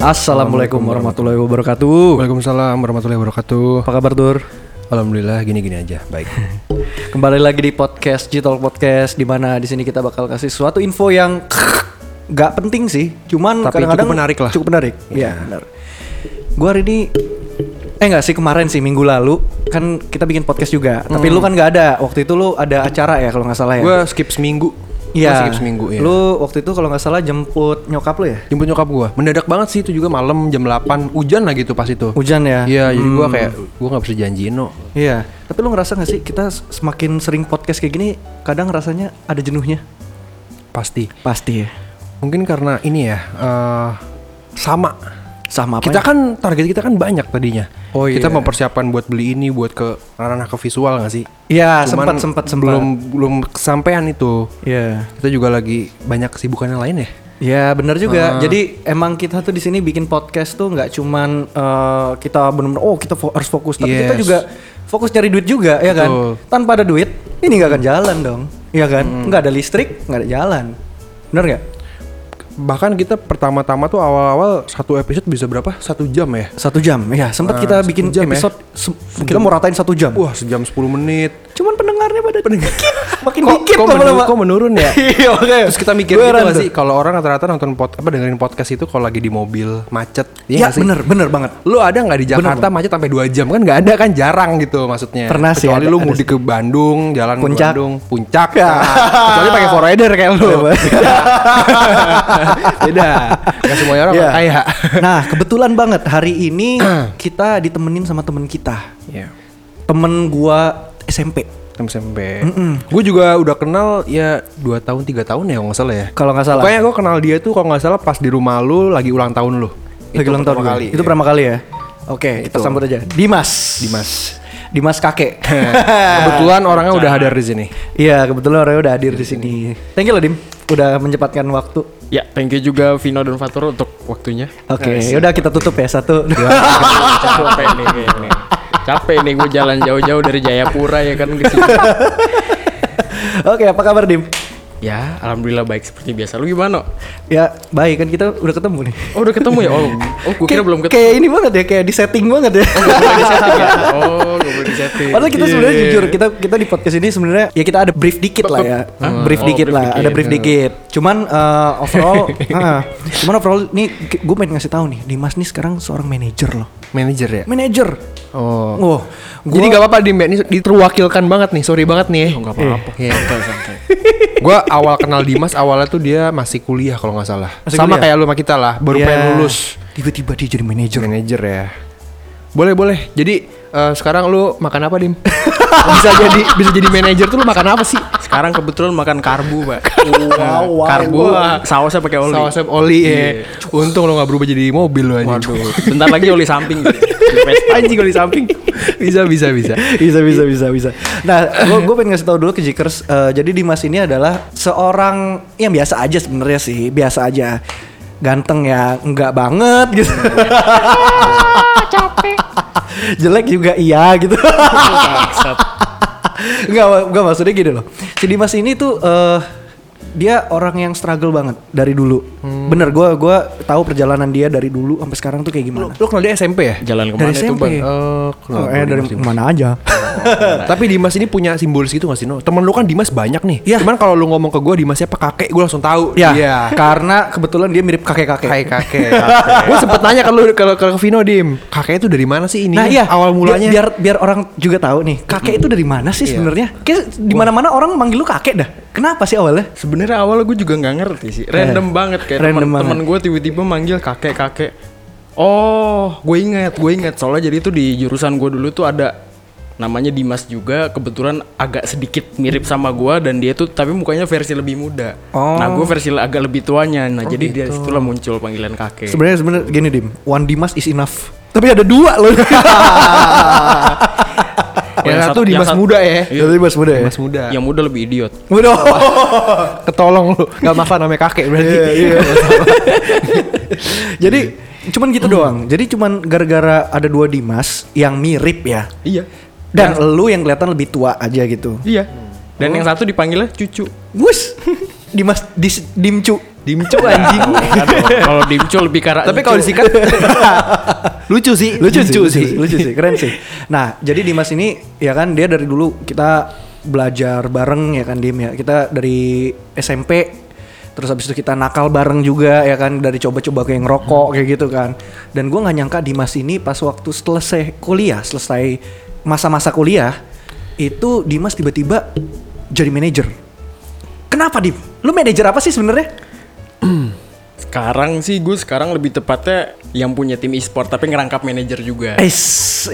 Assalamualaikum warahmatullahi wabarakatuh. Waalaikumsalam warahmatullahi wabarakatuh. Apa kabar Dur? Alhamdulillah gini-gini aja, baik. Kembali lagi di podcast G-Talk Podcast di mana di sini kita bakal kasih suatu info yang nggak penting sih, cuman Tapi kadang-kadang cukup menarik lah. Cukup menarik. Iya, benar. Gua hari ini eh nggak sih kemarin sih minggu lalu kan kita bikin podcast juga. Tapi Hmm. lu kan nggak ada. Waktu itu lu ada acara ya kalau nggak salah ya. Gue skip seminggu. Gua Iya. skip seminggu ya. Lu waktu itu kalau nggak salah jemput nyokap lu ya? Jemput nyokap gue. Mendadak banget sih itu juga malam jam 8 hujan lagi tuh pas itu. Hujan ya? Iya, jadi gue kayak gue nggak bisa janjiin no. Iya, tapi lu ngerasa gak sih kita semakin sering podcast kayak gini kadang rasanya ada jenuhnya? Pasti. Pasti ya. Mungkin karena ini ya eh, sama. Sama apa? Kita kan target kita kan banyak tadinya. Oh, Kita iya. mempersiapkan buat beli ini buat ke ranah ke visual nggak sih? Iya, sempat Cuman sempat sempat. Belum belum kesampaian itu. Iya. Kita juga lagi banyak kesibukan yang lain ya. Ya benar Ah. juga. Jadi emang kita tuh di sini bikin podcast tuh nggak cuman eh, kita benar-benar oh kita fo- harus fokus, tapi kita Yes. juga fokus nyari duit juga ya kan. Betul. Tanpa ada duit ini nggak akan jalan dong, ya kan? Nggak ada listrik, nggak ada jalan. Bener nggak? bahkan kita pertama-tama tuh awal-awal satu episode bisa berapa satu jam ya Satu jam, ya sempat Nah, kita satu bikin jam ya. episode se- kita mau ratain satu jam. wah sejam 10 menit Cuman pendengarnya pada dikit, makin Kok- dikit kok lama-lama. menurun- kok menurun ya? iya, makanya. terus kita mikir Gua gitu heran gak tuh. sih kalau orang rata-rata nonton pod, apa dengerin podcast itu kalau lagi di mobil macet Ya, iya nggak sih? bener, bener banget. lu ada nggak di Jakarta macet sampai 2 jam kan nggak ada kan jarang gitu maksudnya Pernah sih, kecuali ada- lu ada mudik ke Bandung jalan ke Puncak. Bandung puncak Ya. Nah, kecuali pakai forwarder kayak lu beda nggak semua orang Iya. kaya Nah, kebetulan banget hari ini kita ditemenin sama temen kita. Iya. Temen gua SMP. SMP. Gue juga udah kenal ya 2 tahun 3 tahun ya kalau nggak salah ya. Kalau nggak salah. Pokoknya gue kenal dia tuh kalau nggak salah pas di rumah lu lagi ulang tahun lu. Lagi Itu ulang tahun pertama gua. kali. iya. Itu pertama kali ya. Oke, kita Itu. sambut aja. Dimas. Dimas. Dimas kakek. Iya. Kebetulan orangnya udah hadir di sini. Iya, kebetulan orangnya udah hadir di sini. iya. Thank you loh, Dim. Udah menyempatkan waktu. Ya, thank you juga Vino dan Fatur untuk waktunya. Oke, yaudah kita tutup ya satu. Iya. Capek nih, kayaknya. capek nih gue jalan jauh-jauh dari Jayapura ya kan ke sini. Oke, apa kabar Dim? Ya, alhamdulillah baik seperti biasa. Lu gimana? Ya, baik kan kita udah ketemu nih. Oh, udah ketemu ya? Oh, oh gue kira Kayak- belum ketemu. iya, Kayak ini banget ya, kayak di setting banget ya. Oh, gak boleh disetting. Padahal kita Iya, sebenarnya jujur, kita kita di podcast ini sebenarnya ya kita ada brief dikit lah ya. Brief Oh, dikit brief lah, ada dikit. brief dikit. Cuman eh, overall, ah, cuman overall nih gue pengen ngasih tahu nih, Dimas nih sekarang seorang manajer loh. Manajer ya. Manajer. Oh. Wah, Jadi nggak apa-apa di ini diterwakilkan banget nih. Sorry banget nih. Enggak apa-apa. Iya. gue awal kenal Dimas awalnya tuh dia masih kuliah kalau nggak salah. Masih Sama kuliah? kayak lu sama kita lah, baru pengen lulus. ya, Tiba-tiba dia jadi manajer. Manajer ya. Boleh boleh. Jadi eh, sekarang lu makan apa Dim? bisa jadi bisa jadi manajer tuh lu makan apa sih? Sekarang kebetulan makan karbu, Pak. Wow, wow, karbu, wow. sausnya pakai oli. Sausnya oli ya. Untung lo gak berubah jadi mobil lo aja. Waduh, bentar lagi oli samping. Di Vespa anjing oli samping. bisa bisa bisa. bisa bisa bisa bisa. Nah, gue gue pengen ngasih tahu dulu ke Jikers. eh, jadi Dimas ini adalah seorang yang biasa aja sebenarnya sih, biasa aja. Ganteng ya, enggak banget gitu. Jelek juga iya gitu. Enggak, ma- enggak maksudnya gini loh. Si Dimas ini tuh eh dia orang yang struggle banget dari dulu. Bener, gue gua tahu perjalanan dia dari dulu sampai sekarang tuh kayak gimana. Lu kenal dia SMP ya? Jalan Dari kemana itu, SMP. Bang? Eh, kenal Oh, eh gua dari Dimas. mana aja. Tapi Dimas ini punya simbol gitu gak sih? No? Temen lu kan Dimas banyak nih. Iya. Cuman kalau lu ngomong ke gue Dimasnya apa kakek, gue langsung tahu. Iya. Ya, karena kebetulan dia mirip kakek-kakek. Hai kakek. gue sempet nanya ke lu ke, ke, ke Vino Dim. Kakek itu dari mana sih ini? Nah, iya. Awal mulanya. biar biar, biar orang juga tahu nih, kakek itu dari mana sih sebenarnya? Kayak di mana-mana orang manggil lu kakek dah. Kenapa sih awalnya? Sebenarnya awalnya gue juga nggak ngerti sih. Eh, Random banget kayak random temen, banget. temen gue tiba-tiba manggil kakek-kakek. Oh, gue inget, gue inget. Soalnya jadi itu di jurusan gue dulu tuh ada namanya Dimas juga kebetulan agak sedikit mirip sama gue dan dia tuh tapi mukanya versi lebih muda. Oh. gitu. Nah gue versi le- agak lebih tuanya. Nah jadi dari situlah muncul panggilan kakek. Sebenarnya sebenarnya gini, Dim. One Dimas is enough. Iya, Tapi ada dua loh. Oh, yang satu sat- Dimas sat- muda ya. Jadi Dimas muda ya. Dimas muda. Yang muda lebih idiot. Muda. Ketolong lu. Gak maafan namanya kakek berarti. Jadi cuman gitu doang. Jadi cuman gara-gara ada dua Dimas yang mirip ya. Iya. Dan lu yang kelihatan lebih tua aja gitu. Iya. Dan yang satu dipanggilnya cucu. Wus. Dimas dis, Dimcu. Dimcu anjing. Kan, kalau dimcul lebih karena Tapi kalau disingkat lucu sih. Lucu sih, Dimcu lucu sih, lucu sih, keren sih. Nah, jadi Dimas ini ya kan dia dari dulu kita belajar bareng ya kan Dim ya. Kita dari SMP terus habis itu kita nakal bareng juga ya kan dari coba-coba kayak ngerokok kayak gitu kan. Dan gua nggak nyangka Dimas ini pas waktu selesai kuliah, selesai masa-masa kuliah itu Dimas tiba-tiba jadi manajer. Kenapa Dim? Lu manajer apa sih sebenarnya? sekarang sih gue sekarang lebih tepatnya yang punya tim e-sport tapi ngerangkap manajer juga. Eh,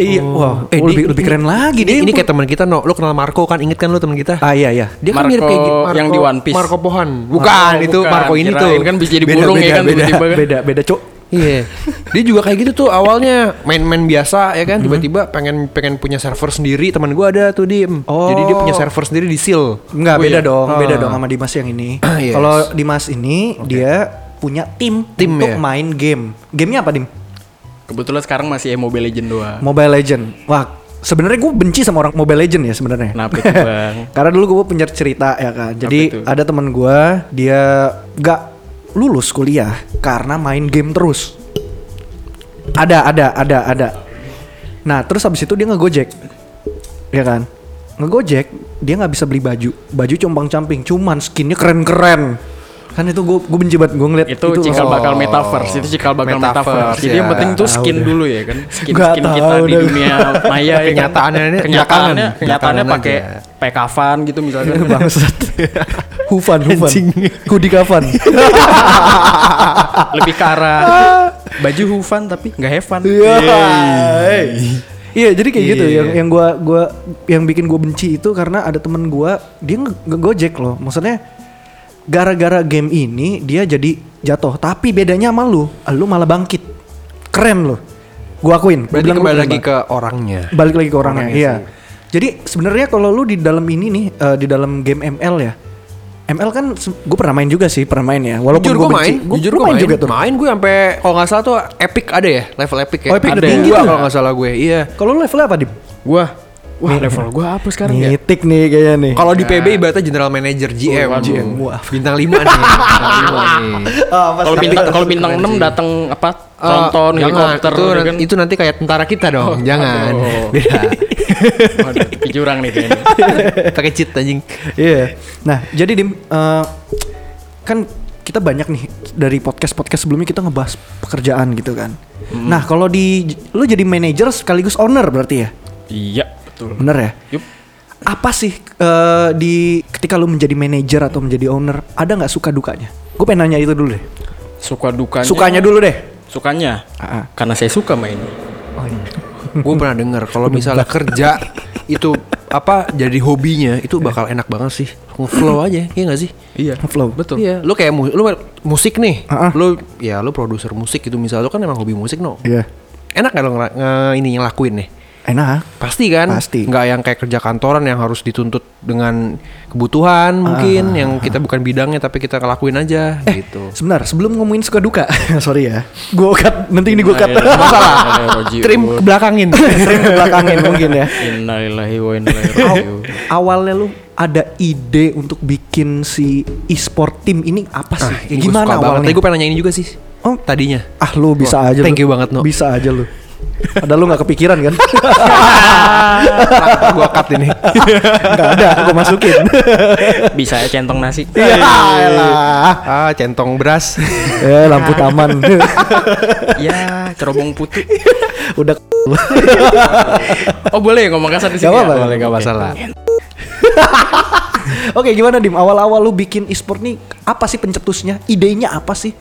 iya, wow, eh, Oh, lebih, di- lebih keren lagi Ini, Dim. ini kayak teman kita no, lo kenal Marco kan? Ingat kan lo teman kita? ah iya iya. Dia kan Marco mirip kayak gitu. yang di One Piece. Marco Pohan. Bukan, Marco, itu bukan. Marco ini tuh. Kirain kan bisa jadi Beda, burung ya beda, kan tiba-tiba kan. beda beda cok Iya. Dia juga kayak gitu tuh awalnya main-main biasa ya kan tiba-tiba pengen pengen punya server sendiri. Teman gua ada tuh Dim. Jadi dia punya server sendiri di Seal. Enggak, Oh, beda iya. dong, beda Ah. dong sama Dimas yang ini. Yes. Kalau Dimas ini dia punya tim, Tim untuk ya? iya. main game. Gamenya apa Dim? Kebetulan sekarang masih Mobile Legend doang. Mobile Legend. Wah, sebenarnya gue benci sama orang Mobile Legend ya sebenarnya. Kenapa tuh, Bang? Karena dulu gue punya cerita ya kan. Jadi itu? ada teman gue dia gak lulus kuliah karena main game terus. Ada, ada, ada, ada. Nah terus habis itu dia ngegojek, ya kan? Ngegojek dia nggak bisa beli baju, baju compang camping, cuman skinnya keren keren. Kan itu gue gue benci banget gue ngeliat itu, cikal bakal metaverse itu cikal bakal Metaverse, metaverse, jadi ya. yang penting tuh Nggak tahu skin deh. dulu ya kan skin Nggak skin kita tahu di deh. dunia maya ya kan. Kenyataannya- kenyataannya belakangan. kenyataannya Belakangan pakai aja. pekavan gitu misalkan Bangsat. Hufan, Hufan. Anjing. Kudikafan. lebih ke arah baju hufan tapi nggak E have fun Yeay. Iya, jadi kayak gitu yang yang gua gua yang bikin gua benci itu karena ada temen gua dia nge- ngegojek loh. Maksudnya gara-gara game ini dia jadi jatuh, tapi bedanya sama lu, Ah, lu malah bangkit. Keren loh. Gua akuin. Gua Berarti bilang gua kembali keren lagi banget ke orangnya. balik lagi ke orangnya, iya jadi sebenarnya kalau lu di dalam ini nih eh, di dalam game ML ya ML kan gue pernah main juga sih pernah main ya walaupun Jujur gue gue main, gue jujur main, gue main, gitu. juga tuh Main gue sampai kalau nggak salah tuh epic ada ya, level epic ya. Oh, epic ada udah tinggi Dua tuh. kalau nggak salah gue. Iya. kalau lu levelnya apa di gua wah level gua apa sekarang ya mitik nih kayaknya nih Kalau di Nah. PB ibaratnya general manager Oh, GM, waduh. GM. Wah. Bintang 5 nih. Bintang 5 nih. Ah, kalau bintang kalau bintang enam datang apa tonton Oh, jangan, helikopter itu, gitu nanti, kan itu nanti kayak tentara kita Oh. dong. jangan. aduh. Beda. Waduh, ke jurang nih kayaknya Pakai cheat anjing. Iya. Nah, jadi Dim, eh, kan kita banyak nih dari podcast-podcast sebelumnya kita ngebahas pekerjaan gitu kan. Hmm. Nah, kalau di lu jadi manajer sekaligus owner berarti ya? iya betul Bener ya? Yup. Apa sih eh, di ketika lu menjadi manajer atau menjadi owner, ada nggak suka dukanya? Gue pengen nanya itu dulu deh. suka dukanya Sukanya dulu deh. sukanya Ah, ah. karena saya suka main Oh, iya. gue pernah denger kalau misalnya kerja itu apa jadi hobinya itu bakal enak banget sih flow aja iya gak sih iya Flow. betul iya lu kayak mu- lu musik nih Ah, ah. lu ya lu produser musik gitu misalnya lu kan emang hobi musik no Iya. enak gak lo ngera- nge- ini yang lakuin nih Enak. ah. pasti kan Pasti. nggak yang kayak kerja kantoran yang harus dituntut dengan kebutuhan mungkin yang kita bukan bidangnya tapi kita ngelakuin aja gitu Sebentar, sebelum ngomongin suka duka, sorry ya, gue cut, nanti Nah, ini gue cut, iya. masalah trim ke belakangin Trim ke belakangin mungkin ya. Innalillahi wa inna ilaihi Aw- raji'un. awalnya lu ada ide untuk bikin si e-sport tim ini apa sih? Kayak Ini Ah, gua Gimana suka banget. awalnya? Tadi gue pengen nanyain juga sih Oh. tadinya Ah lu bisa Wah, aja thank lu. you banget, No. Bisa aja lu. Padahal lu gak kepikiran kan? gue cut ini gak ada, gue masukin. Bisa ya centong nasi. Iya. Ya elah. ah centong beras Eh lampu taman. ya, cerobong putih. Udah Oh, boleh ya ngomong kasar di Gak sini. ya? apa-apa. Boleh, nggak Oke. masalah. Oke gimana Dim? Awal-awal lu bikin e-sport nih apa sih pencetusnya? Idenya apa sih?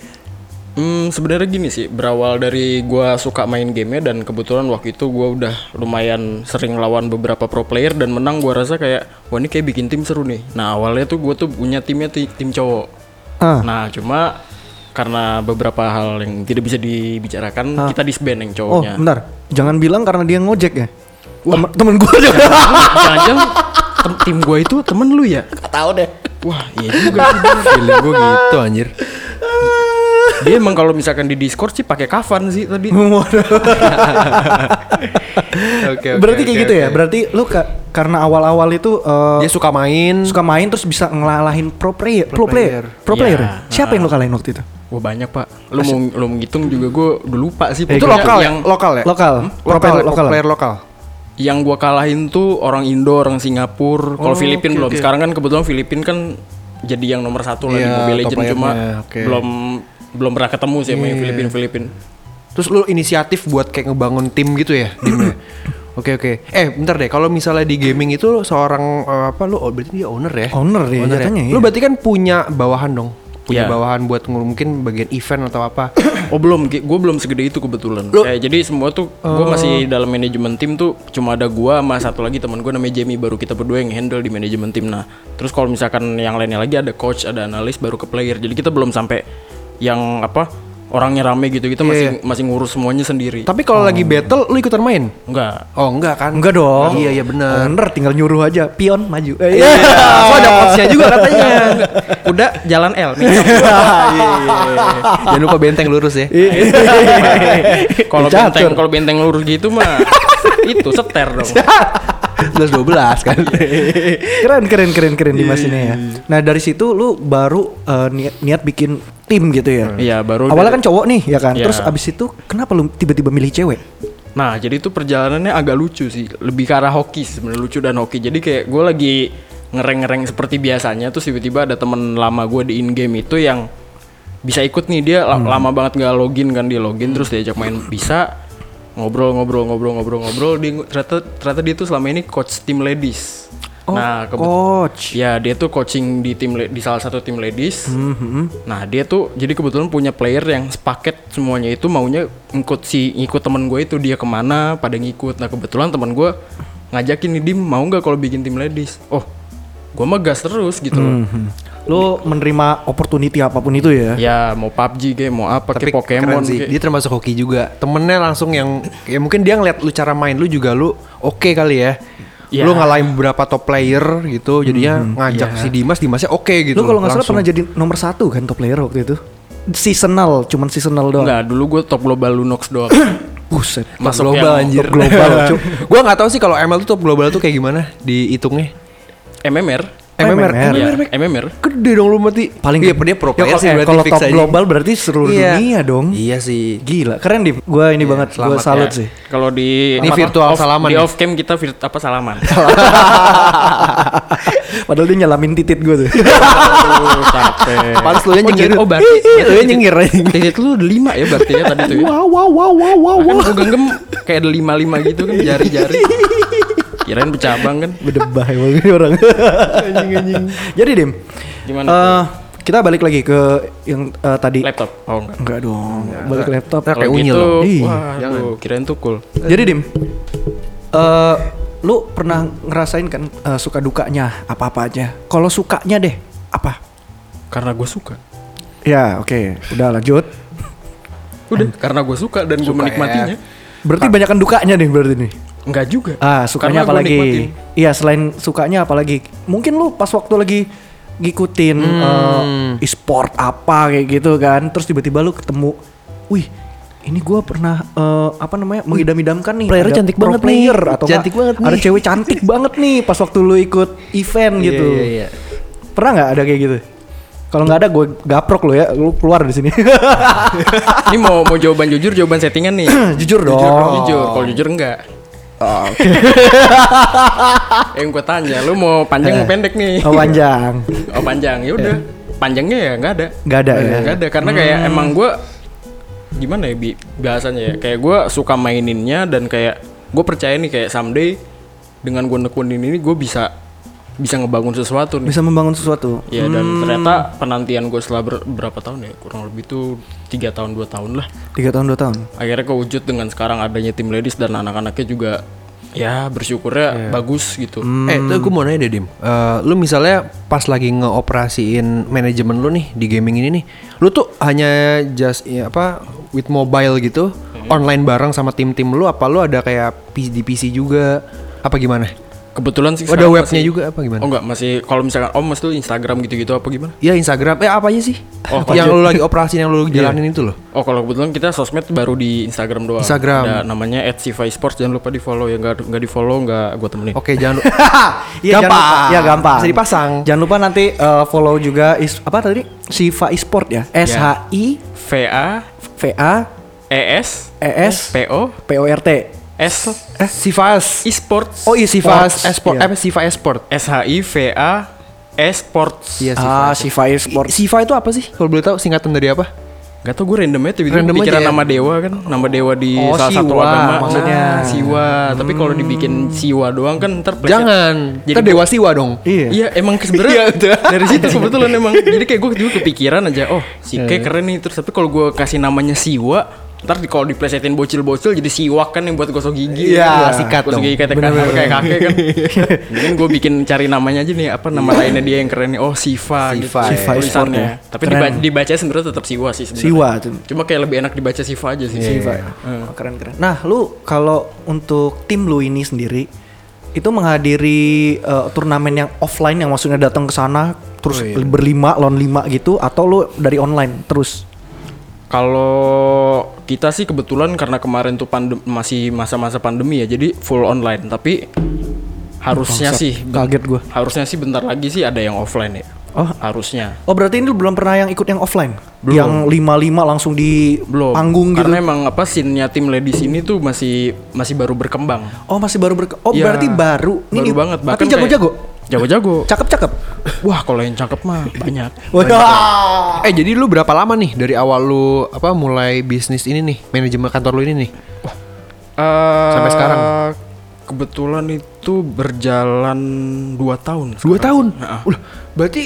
Hmm, sebenarnya gini sih, berawal dari gua suka main gamenya dan kebetulan waktu itu gua udah lumayan sering lawan beberapa pro player dan menang gua rasa kayak wah ini kayak bikin tim seru nih. Nah, awalnya tuh gua tuh punya timnya ti- tim cowok. Ah. Nah, cuma karena beberapa hal yang tidak bisa dibicarakan, kita disband yang Ah. Oh cowoknya. bentar, jangan bilang karena dia ngojek ya? Temen, temen gue juga. Jangan-jangan tem- tim gua itu temen lu ya? Tahu deh. Wah, iya juga. Feeling gue gitu anjir Dia emang kalau misalkan di Discord sih pakai kafan sih tadi. Oke, oke, Berarti kayak oke, gitu ya? oke. Berarti lu ka- karena awal-awal itu eh, Dia suka main. suka main terus bisa ngelahin pro player, pro player, pro player. ya? Iya. Siapa yang lu kalahin waktu itu? Wah banyak pak. Lu mau lu mau ngitung juga gue udah lupa sih. itu Pokoknya lokal yang, ya? Lokal ya? Lokal. Pro Lokal, player lokal. player lokal. Yang gue kalahin tuh orang Indo, orang Singapura. Kalau Oh, Filipin oke, belum. oke. Sekarang kan kebetulan Filipin kan jadi yang nomor satu lah di Iya, Mobile top Legends cuma layarnya, oke. Iya. belum belum pernah ketemu sih sama yang Filipin Filipin. Terus lu inisiatif buat kayak ngebangun tim gitu ya? timnya? Oke oke. Eh bentar deh, kalau misalnya di gaming itu seorang eh, apa lu oh, berarti dia owner ya? Owner ya, jatuhnya ya. Lu berarti kan punya bawahan dong. Punya Iya. bawahan buat ngurus mungkin bagian event atau apa. Oh belum, gue belum segede itu kebetulan. Kayak jadi semua tuh gue masih dalam manajemen tim tuh cuma ada gue sama satu lagi teman gue namanya Jamie baru kita berdua yang handle di manajemen tim. Nah terus kalau misalkan yang lainnya lagi ada coach, ada analis baru ke player. Jadi kita belum sampai yang apa orangnya rame gitu kita masih masih ngurus semuanya sendiri. Tapi kalau lagi battle lu ikutan main? Enggak. Oh enggak kan? Enggak dong. Oh. Iya iya benar. Owner tinggal nyuruh aja, pion maju. Eh, Iya, so ada coachnya juga katanya. Iya, Udah jalan L. nih. Jangan lupa benteng lurus ya. Kalau Dicatur. benteng kalau benteng lurus gitu mah itu seter dong. 11 12 kan. keren keren keren keren di mas ini ya. Nah dari situ lu baru eh, niat, niat bikin tim gitu ya. Iya baru. Awalnya kan cowok nih ya kan. Iya. Terus abis itu kenapa lu tiba-tiba milih cewek? Nah, jadi itu perjalanannya agak lucu sih, lebih ke arah hoki sebenarnya lucu dan hoki. Jadi kayak gue lagi ngereng-ngereng seperti biasanya, terus tiba-tiba ada temen lama gue di in game itu yang bisa ikut nih dia la- lama banget nggak login kan dia login terus diajak main bisa ngobrol ngobrol ngobrol ngobrol ngobrol dia ngu- ternyata ternyata dia tuh selama ini coach tim ladies. Oh. nah, kebet- coach. Ya dia tuh coaching di tim le- di salah satu tim ladies. Mm-hmm. Nah dia tuh jadi kebetulan punya player yang sepaket semuanya itu maunya ngikut si ngikut teman gue itu dia kemana pada ngikut. Nah kebetulan teman gue ngajakin nih Dim mau nggak kalau bikin tim ladies? Oh gue mah gas terus gitu loh. Mm-hmm. Lu menerima opportunity apapun itu ya. Ya mau PUBG kayak mau apa Tapi kayak Pokemon keren sih. gitu. kayak- Dia termasuk hoki juga. Temennya langsung yang ya mungkin dia ngeliat lu cara main lu juga lu oke kali ya. Iya. Lu ngalahin beberapa top player gitu, jadinya ngajak si Dimas, Dimasnya oke gitu. Iya. Lu kalau nggak salah langsung. pernah jadi nomor satu kan top player waktu itu. Seasonal, cuman seasonal doang. Enggak, dulu gue top global Lunox doang. Buset. Mas Masuk global yang anjir top global, cu. Gua nggak tahu sih kalau ML tuh top global tuh kayak gimana dihitungnya. MMR. MMR. MMR. Iya, MMR. MMR. Gede dong lu mati. Paling iya, dia pro Ya, player kalau- sih eh, berarti Kalau fix top aja. global berarti seluruh Iya. dunia dong. Iya sih. Gila, keren Iya, di. Gua ini banget, gua selamat salut Ya, sih. Kalau di Ini apa- virtual off- salaman Di ya? off cam kita virt, apa salaman. Padahal dia nyalamin titit gue tuh. Aduh, capek. Pantes lu nya nyengir. Oh, berarti lu nya nyengir. Titik lu ada lima ya berarti ya tadi tuh ya. wow wow wow wow wow. Kan gue genggam kayak ada lima-lima gitu kan jari-jari. Kirain bercabang kan. Bedebah emang ini orang. Jadi Dim, Gimana eh, kita balik lagi ke yang eh, tadi. Laptop. Oh enggak. Enggak dong, balik ke laptop. Ntar Kalau Kayak unyil gitu, dong. Ih, wah, aduh, kirain tukul. Jadi Dim, eh, lu pernah ngerasain kan eh, suka dukanya apa-apa aja? Kalau sukanya deh apa? Karena gue suka. Ya oke, udah lanjut. Udah, karena gue suka dan gue ya. menikmatinya. Berarti banyakkan dukanya nih berarti nih. Enggak juga. Ah sukanya Karena gua nikmatin. apalagi? Iya selain sukanya apalagi? Mungkin lu pas waktu lagi ngikutin Hmm. eh, e-sport apa kayak gitu kan, terus tiba-tiba lu ketemu, wih ini gua pernah eh, apa namanya mengidam-idamkan nih playernya ada cantik pro banget nih. player atau enggak, Cantik banget ada nih. cewek cantik banget nih pas waktu lu ikut event gitu Iya, iya, iya. pernah nggak ada kayak gitu kalau nggak ada gue gaprok lo ya lu keluar dari sini Ini mau mau jawaban jujur, jawaban settingan nih. jujur dong Oh, Jujur, jujur. Kalau jujur enggak. Yang gue tanya, lu mau panjang mau pendek nih? oh, panjang Oh panjang, ya udah. Panjangnya ya nggak ada. Nggak ada ya? Nggak ada karena kayak emang gue gimana ya bi bahasanya ya. Kayak gue suka maininnya dan kayak gue percaya nih kayak someday dengan gue nekunin ini gue bisa bisa ngebangun sesuatu nih. bisa membangun sesuatu Ya dan ternyata penantian gue setelah ber- berapa tahun ya kurang lebih tuh tiga tahun dua tahun lah tiga tahun dua tahun akhirnya kewujud dengan sekarang adanya tim ladies dan anak-anaknya juga Iya. ya bersyukurnya bagus gitu. Hmm. Eh, tuh gue mau nanya deh, Dim. Eh, lu misalnya pas lagi ngeoperasiin manajemen lu nih di gaming ini nih, lu tuh hanya just ya, apa with mobile gitu, online bareng sama tim-tim lu apa lu ada kayak PC di PC juga apa gimana? kebetulan sih Oh, ada sekarang webnya masih- juga apa gimana? oh enggak masih kalau misalkan om mas tuh Instagram gitu-gitu apa gimana Ya Instagram, eh apa aja sih? Oh, yang lu lagi operasi, yang lu jalanin itu loh. Oh kalau kebetulan kita sosmed baru di Instagram doang. Instagram. Ada namanya @sivaisports jangan lupa di follow ya nggak nggak di follow nggak gue temenin. Oke, jangan lu- Iya Gampang. Jangan lupa, ya gampang. Bisa dipasang. Jangan lupa nanti eh, follow juga is, apa tadi? Siva Esport ya. S H I V A V A E S E S P O P O R T. S Eh, Sivas. esports. Oh iya Siva Sivas Esport, Iya. apa Siva Esport? S H I V A esports. Iya, Siva. Ah Siva Esport. Siva itu apa sih? Kalau boleh tahu singkatan dari apa? Gak tau gue random aja tiba-tiba Random aja pikiran ya? nama dewa kan Nama dewa di Oh, salah satu siwa agama maksudnya. Nah, Siwa Tapi kalau dibikin siwa doang kan ntar Hmm. pleset. Jangan. Jadi Kita dewa Siwa dong. Iya. Iya emang ke- sebenarnya dari situ Iya. kebetulan emang jadi kayak gue juga kepikiran aja oh si Iya. kayak keren nih terus tapi kalau gue kasih namanya siwa ntar di- kalau diplesetin bocil-bocil jadi siwak kan yang buat gosok gigi Iya, Gosok sikat gosok dong. gigi kayak kakek kayak kakek kan mungkin gue bikin cari namanya aja nih apa nama lainnya dia yang keren nih oh Siva gitu. Siva, iya. Siva tulisannya Esport ya. tapi Keren. diba- dibaca sebenarnya tetap siwa sih sebenarnya. Siwa tuh. cuma kayak lebih enak dibaca Siva aja sih Iya. Siva. Oh, keren keren. Nah, lu kalau untuk tim lu ini sendiri itu menghadiri eh, turnamen yang offline yang maksudnya datang ke sana terus berlima lawan lima gitu atau lu dari online terus? Kalau kita sih kebetulan karena kemarin tuh pandem- masih masa-masa pandemi ya, jadi full online. Tapi harusnya sih Kaget gua. harusnya sih bentar lagi sih ada yang offline ya. Oh. Harusnya. Oh, berarti ini lu belum pernah yang ikut yang offline? Yang lima-lima langsung di Belum. panggung gitu. karena emang apa scene-nya tim ladies ini tuh masih masih baru berkembang. Oh masih baru berke Oh Ya, berarti baru. Baru banget gitu? Tapi bahkan kayak- jago-jago. Jago-jago. Cakep-cakep. Wah, kalau yang cakep mah banyak. Wah. Eh jadi lu berapa lama nih dari awal lu apa mulai bisnis ini nih manajemen kantor lu ini nih? Sampai sekarang? Eh, Kebetulan itu berjalan 2 tahun. Dua sekarang. tahun. Ulah, berarti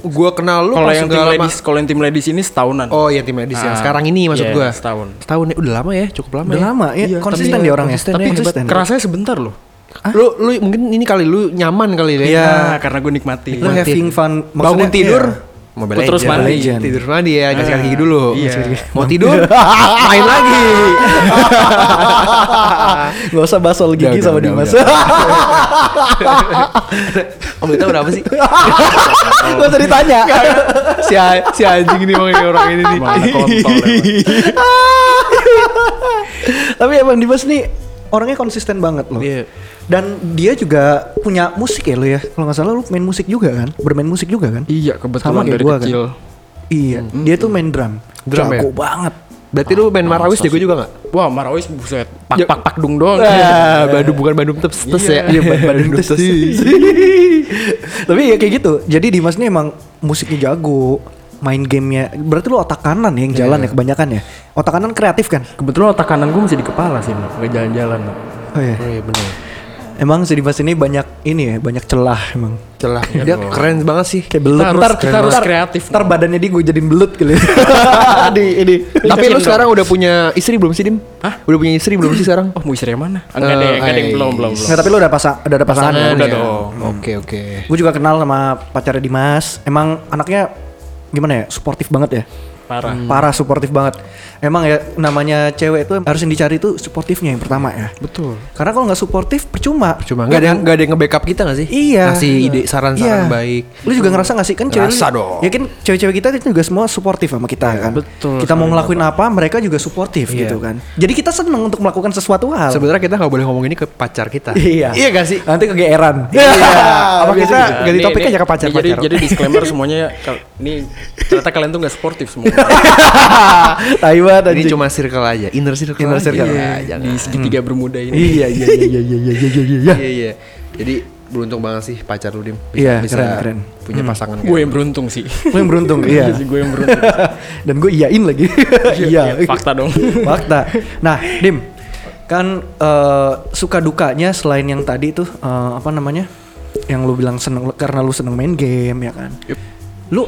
gua kenal lu Kalau pas yang nggak tim lama- ladies, kalau yang tim ladies ini setahunan. Oh iya tim medis yang Ah, sekarang ini maksud iya, gua. setahun. Setahun ya udah lama ya, cukup lama. Udah ya. lama, iya, konsisten tapi- dia orangnya. konsisten Tapi ya, hebat. konsisten. Kerasanya sebentar loh. Lu lu mungkin ini kali lu nyaman kali ya. Iya. Nah, karena gue nikmati. Lu Nikmati. having fun. Bangun Maksudnya- tidur Gua terus iya. Legends. mandi. Legend. Tidur mandi ya, kasih kaki dulu. Iya. Mau tidur? main lagi. Gak usah bahas soal gigi Udah, sama udah, Dimas. udah, Om Dita berapa sih? Gak usah ditanya. si, a- si anjing ini emang ini orang ini nih. Iya. Mana kontol ya. emang. Tapi emang Dimas nih orangnya konsisten banget loh. Iya. Dan dia juga punya musik ya lo ya. Kalau nggak salah lu main musik juga kan? Bermain musik juga kan? Iya, kebetulan kayak dari kan. gua, kan? kecil. Hmm. Iya. Dia tuh main drum. Drum ya? Jago banget. Berarti lu main Marawis jago juga nggak? Wah, Marawis buset. Ya. Pak pak pak dung doang. Iya. Ah, Bandung bukan Bandung tepes tepes ya. Iya, badan terus. Tapi ya kayak gitu. Jadi Dimas nih emang musiknya jago, main gamenya. Berarti lu otak kanan ya yang jalan ya kebanyakan ya. Otak kanan kreatif kan? Kebetulan otak kanan gue masih di kepala sih, Nok. Nggak jalan-jalan. Nok. Oh iya. Oh iya benar. Emang si Dimas ini banyak ini ya, banyak celah emang. Celah. Iya, Dia keren banget sih. Kayak belut. harus- kita harus kreatif. Ntar badannya dia gue jadiin belut gitu. kali. di ini. Tapi lu sekarang udah punya istri belum sih, Dim? Hah? Udah punya istri belum sih sekarang? Oh, mau istri yang mana? Enggak ada, enggak ada yang Eh, belum, belum, belum. Nggak, tapi lu udah pasang, udah ada pasangan. Pasangan kan? udah ya. dong. Oke, oke. Gue juga kenal sama pacarnya Dimas. Emang anaknya gimana ya? Suportif banget ya. Parah. Parah suportif banget. Emang ya namanya cewek itu harus yang dicari itu suportifnya yang pertama ya. Betul. Karena kalau nggak suportif percuma. Cuma nggak ada yang nggak ada yang nge-backup kita nggak sih? kan? Iya. Ngasih ide saran-saran Iya. baik. Lu juga ngerasa gak sih kan cewek Ngerasa dong. Iya, Ya kan cewek-cewek kita kan juga semua suportif sama kita kan. betul Kita mau ngelakuin apa, mereka juga suportif gitu kan. Jadi kita seneng untuk melakukan sesuatu hal. Sebenarnya kita nggak boleh ngomong ini ke pacar kita. iya. Iya gak sih? Iya. Nanti kegeeran. Apa Biasa kita gitu. ganti Ini- topik ini- aja ke ini pacar-pacar? Jadi, jadi disclaimer semuanya kal- ini ternyata kalian tuh nggak sportif semua. Iya. Tai banget ini anjing. cuma circle aja, inner circle. Inner aja. circle. Iya, Iya, jangan. di segitiga bermuda ini. Iya iya iya iya iya iya iya iya. Iya, iya. Jadi beruntung banget sih pacar lu Dim. Bisa, Iya, bisa keren, keren. Hmm. punya pasangan kayak Gue yang beruntung sih. Lu yang beruntung, iya. sih, gue yang beruntung. Dan gue iyain lagi. Iya. Fakta dong. Fakta. Nah, Dim, kan eh, suka dukanya selain yang tadi tuh eh, apa namanya? Yang lu bilang seneng karena lu seneng main game ya kan. Lu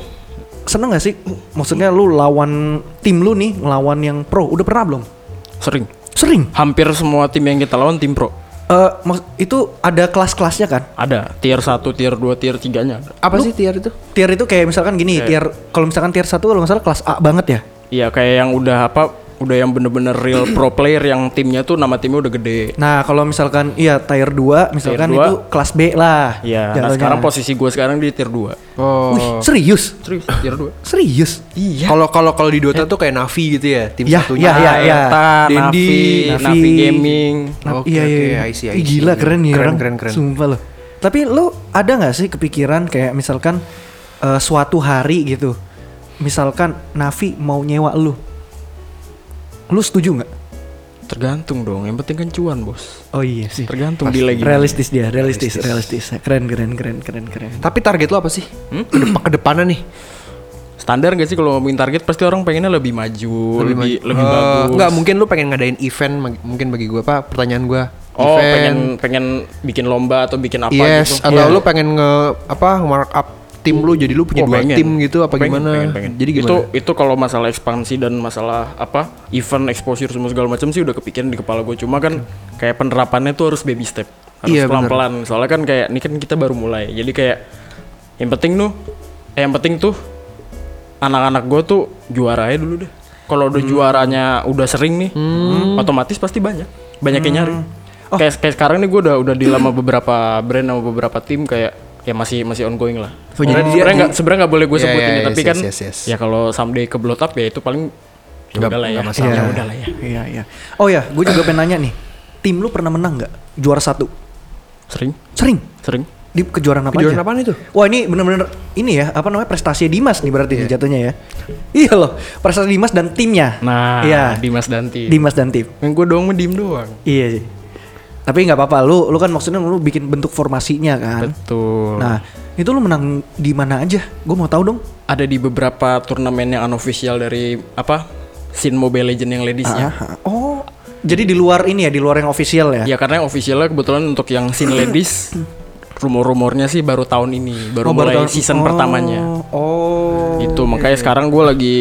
seneng gak sih? Maksudnya lu lawan tim lu nih, ngelawan yang pro. Udah pernah belum? Sering. Sering. Hampir semua tim yang kita lawan tim pro. Eh, mak- itu ada kelas-kelasnya kan? Ada tier 1, tier 2, tier 3-nya. Apa sih tiar itu? Iya, Tier itu kayak misalkan gini, tier kalau misalkan tier 1 kalau nggak salah kelas A banget ya. Iya, kayak yang udah apa udah yang bener-bener real pro player yang timnya tuh nama timnya udah gede Nah, kalau misalkan iya tier 2 misalkan Tier dua. itu kelas B lah. Iya. Nah jatuhnya. sekarang posisi gue sekarang di tier 2 Oh. Wih, serius? Serius tier 2 Serius? Iya Kalau kalau kalau di Dota tuh kayak Navi gitu ya, tim Yah, satunya. yah, yah, Ah, yah. Dota, Dendi. Navi, Navi Gaming Nah, Oke, iya, iya, oke, iya. I see, I Ih, see. Gila keren ya Keren, orang. keren, keren. Sumpah loh. Tapi lu ada nggak sih kepikiran kayak misalkan eh, suatu hari gitu, misalkan Navi mau nyewa lu, lu setuju nggak? Tergantung dong yang penting kan cuan bos Oh iya sih. Tergantung di lagi Realistis dia, realistis, realistis. Keren, keren, keren, keren, keren. Tapi target lo apa sih? Kedepan, kedepanan nih. Standar gak sih kalau ngomongin target pasti orang pengennya lebih maju Lebih, lebih, Eh, bagus Nggak mungkin lu pengen ngadain event mag- mungkin bagi gue apa pertanyaan gue. Oh event, pengen pengen bikin lomba atau bikin apa yes gitu atau lu pengen nge apa markup tim lu jadi lu punya Oh, dua pengen. tim gitu apa Pengen, gimana? pengen, pengen. Jadi gimana? itu itu kalau masalah ekspansi dan masalah apa event exposure semua segala macam sih udah kepikiran di kepala gue cuma kan kayak penerapannya tuh harus baby step harus Iya, pelan pelan soalnya kan kayak ini kan kita baru mulai jadi kayak yang penting tuh eh, yang penting tuh anak-anak gue tuh juara aja dulu deh kalau Hmm. udah juaranya udah sering nih otomatis pasti banyak banyak Hmm. yang nyari Oh. kayak kayak sekarang nih gue udah udah di lama beberapa brand sama beberapa tim kayak ya masih masih ongoing lah. Oh, jadi Sebenarnya dia- sebenarnya nggak sebenarnya nggak boleh gue Iya, sebutin iya, ya, iya, tapi yes, kan yes, yes. ya kalau someday ke blow up ya itu paling ya Nggak- udahlah ya. nggak masalah. Ya udahlah ya. Iya, iya. Oh ya, gue juga pengen nanya nih. Tim lu pernah menang nggak juara satu? Sering, Sering. sering. Di kejuaraan apa Kejuaraan aja? apaan itu? Wah ini bener-bener ini ya, apa namanya prestasi Dimas nih berarti nih jatuhnya ya. Iya loh, prestasi Dimas dan timnya. Nah, iya. Dimas Danti. Dimas dan tim. Yang gue doang diem doang. Iya sih. Tapi nggak apa-apa, lu lu kan maksudnya lu bikin bentuk formasinya kan. Betul. Nah, itu lu menang di mana aja? Gue mau tahu dong. Ada di beberapa turnamen yang unofficial dari apa? Sin Mobile Legend yang ya. ladiesnya. Ah, oh, jadi di luar ini ya, di luar yang official ya? Ya karena yang officialnya kebetulan untuk yang Sin Ladies rumor-rumornya sih baru tahun ini, baru Oh, mulai tahun- season oh, pertamanya. Oh. itu makanya sekarang gue lagi